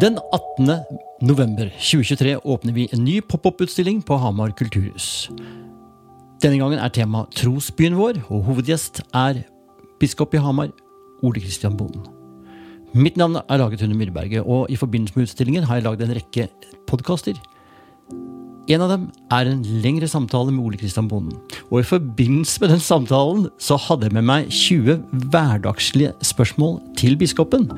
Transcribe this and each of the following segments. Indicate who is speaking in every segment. Speaker 1: Den 18. november 2023 åpner vi en ny pop-opp-utstilling på Hamar kulturhus. Denne gangen er tema trosbyen vår, og hovedgjest er biskop i Hamar, Ole Kristian Bonden. Mitt navn er laget under Myrberget, og i forbindelse med utstillingen har jeg lagd en rekke podkaster. En av dem er en lengre samtale med Ole Kristian Bonden. Og i forbindelse med den samtalen så hadde jeg med meg 20 hverdagslige spørsmål til biskopen.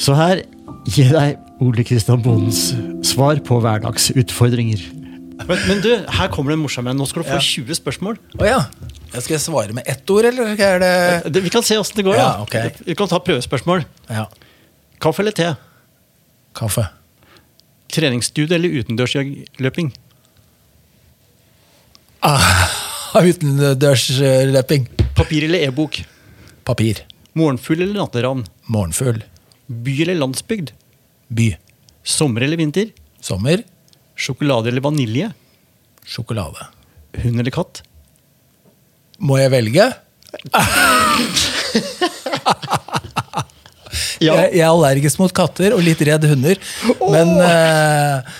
Speaker 1: Så her gir jeg Ole Kristian Bondens svar på hverdagsutfordringer. Men, men du, her kommer det en morsom en. Nå skal du få 20 spørsmål.
Speaker 2: Å ja. Jeg skal svare med ett ord, eller skal jeg det
Speaker 1: Det- Vi kan se åssen det går.
Speaker 2: Ja,
Speaker 1: da.
Speaker 2: ok.
Speaker 1: Vi kan ta prøvespørsmål.
Speaker 2: Ja.
Speaker 1: Kaffe eller te?
Speaker 2: Kaffe.
Speaker 1: Treningsstudie eller utendørsløping?
Speaker 2: Ah, Utendørsløping.
Speaker 1: Papir eller e-bok?
Speaker 2: Papir.
Speaker 1: Morgenfugl eller natteravn?
Speaker 2: Morgenfugl.
Speaker 1: By eller landsbygd?
Speaker 2: By.
Speaker 1: Sommer eller vinter?
Speaker 2: Sommer.
Speaker 1: Sjokolade eller vanilje?
Speaker 2: Sjokolade.
Speaker 1: Hund eller katt?
Speaker 2: Må jeg velge? Jeg, jeg er allergisk mot katter og litt redd hunder. Men eh,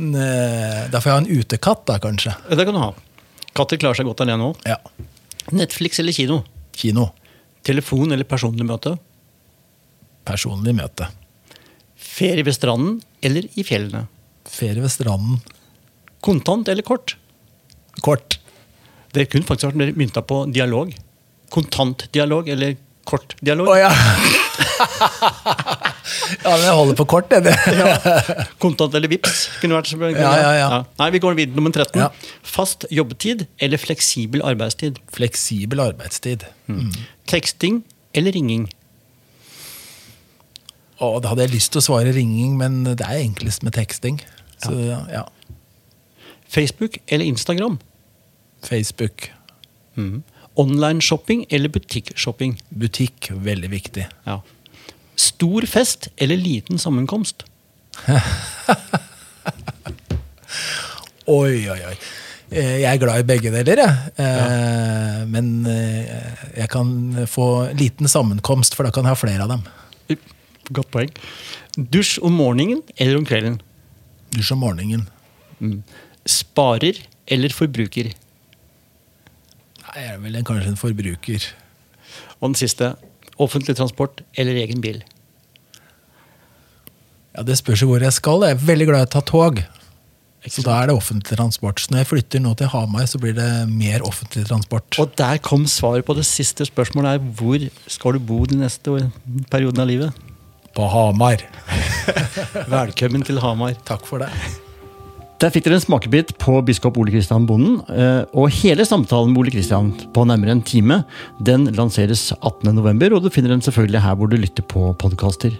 Speaker 2: ne- da får jeg ha en utekatt, da, kanskje.
Speaker 1: Det kan du ha. Katter klarer seg godt alene òg.
Speaker 2: Ja.
Speaker 1: Netflix eller kino?
Speaker 2: Kino.
Speaker 1: Telefon eller personlig møte?
Speaker 2: Personlig møte.
Speaker 1: Ferie ved stranden eller i fjellene?
Speaker 2: Ferie ved stranden.
Speaker 1: Kontant eller kort?
Speaker 2: Kort.
Speaker 1: Det kunne faktisk vært mer mynta på dialog. Kontantdialog eller kortdialog?
Speaker 2: Å ja. ja, men jeg holder på kort, jeg. Ja.
Speaker 1: Kontant eller vips? Kunne vært, kunne
Speaker 2: Ja, ja, ja.
Speaker 1: Nei, Vi går videre nummer 13.
Speaker 2: Ja.
Speaker 1: Fast jobbetid eller fleksibel arbeidstid?
Speaker 2: Fleksibel arbeidstid. Mm.
Speaker 1: Teksting eller ringing?
Speaker 2: Å, da hadde jeg lyst til å svare ringing, men det er enklest med teksting. Så ja,
Speaker 1: Facebook eller Instagram?
Speaker 2: Facebook,
Speaker 1: Online shopping eller butikkshopping?
Speaker 2: butikk, veldig viktig.
Speaker 1: Ja. Stor fest eller liten sammenkomst?
Speaker 2: Oi, oi, oi. Eh, Jeg er glad i begge deler, jeg. Eh, Men eh, jeg kan få liten sammenkomst, for da kan jeg ha flere av dem.
Speaker 1: Godt poeng. Dusj om morgenen eller om kvelden?
Speaker 2: Dusj om morgenen.
Speaker 1: Sparer eller forbruker?
Speaker 2: Nei, Jeg er vel en- kanskje en forbruker.
Speaker 1: Og den siste offentlig transport eller egen bil?
Speaker 2: Ja, Det spørs jo hvor jeg skal. Jeg er veldig glad i å ta tog. Så da er det offentlig transport. Så når jeg flytter nå til Hamar, så blir det mer offentlig transport.
Speaker 1: Og der kom svaret på det siste spørsmålet. er Hvor skal du bo de neste år- perioden av livet?
Speaker 2: På Hamar.
Speaker 1: Velkommen til Hamar.
Speaker 2: Takk for det.
Speaker 1: Der fikk dere en smakebit på biskop Ole Kristian Bonden. eh, Og hele samtalen med Ole Kristian på nærmere en time den lanseres 18.11., og du finner den selvfølgelig her hvor du lytter på podkaster.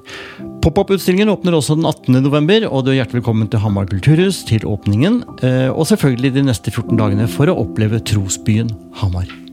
Speaker 1: Pop-opp-utstillingen åpner også den 18.11., og du er hjertelig velkommen til Hamar kulturhus til åpningen. eh, Og selvfølgelig de neste 14 dagene for å oppleve trosbyen Hamar.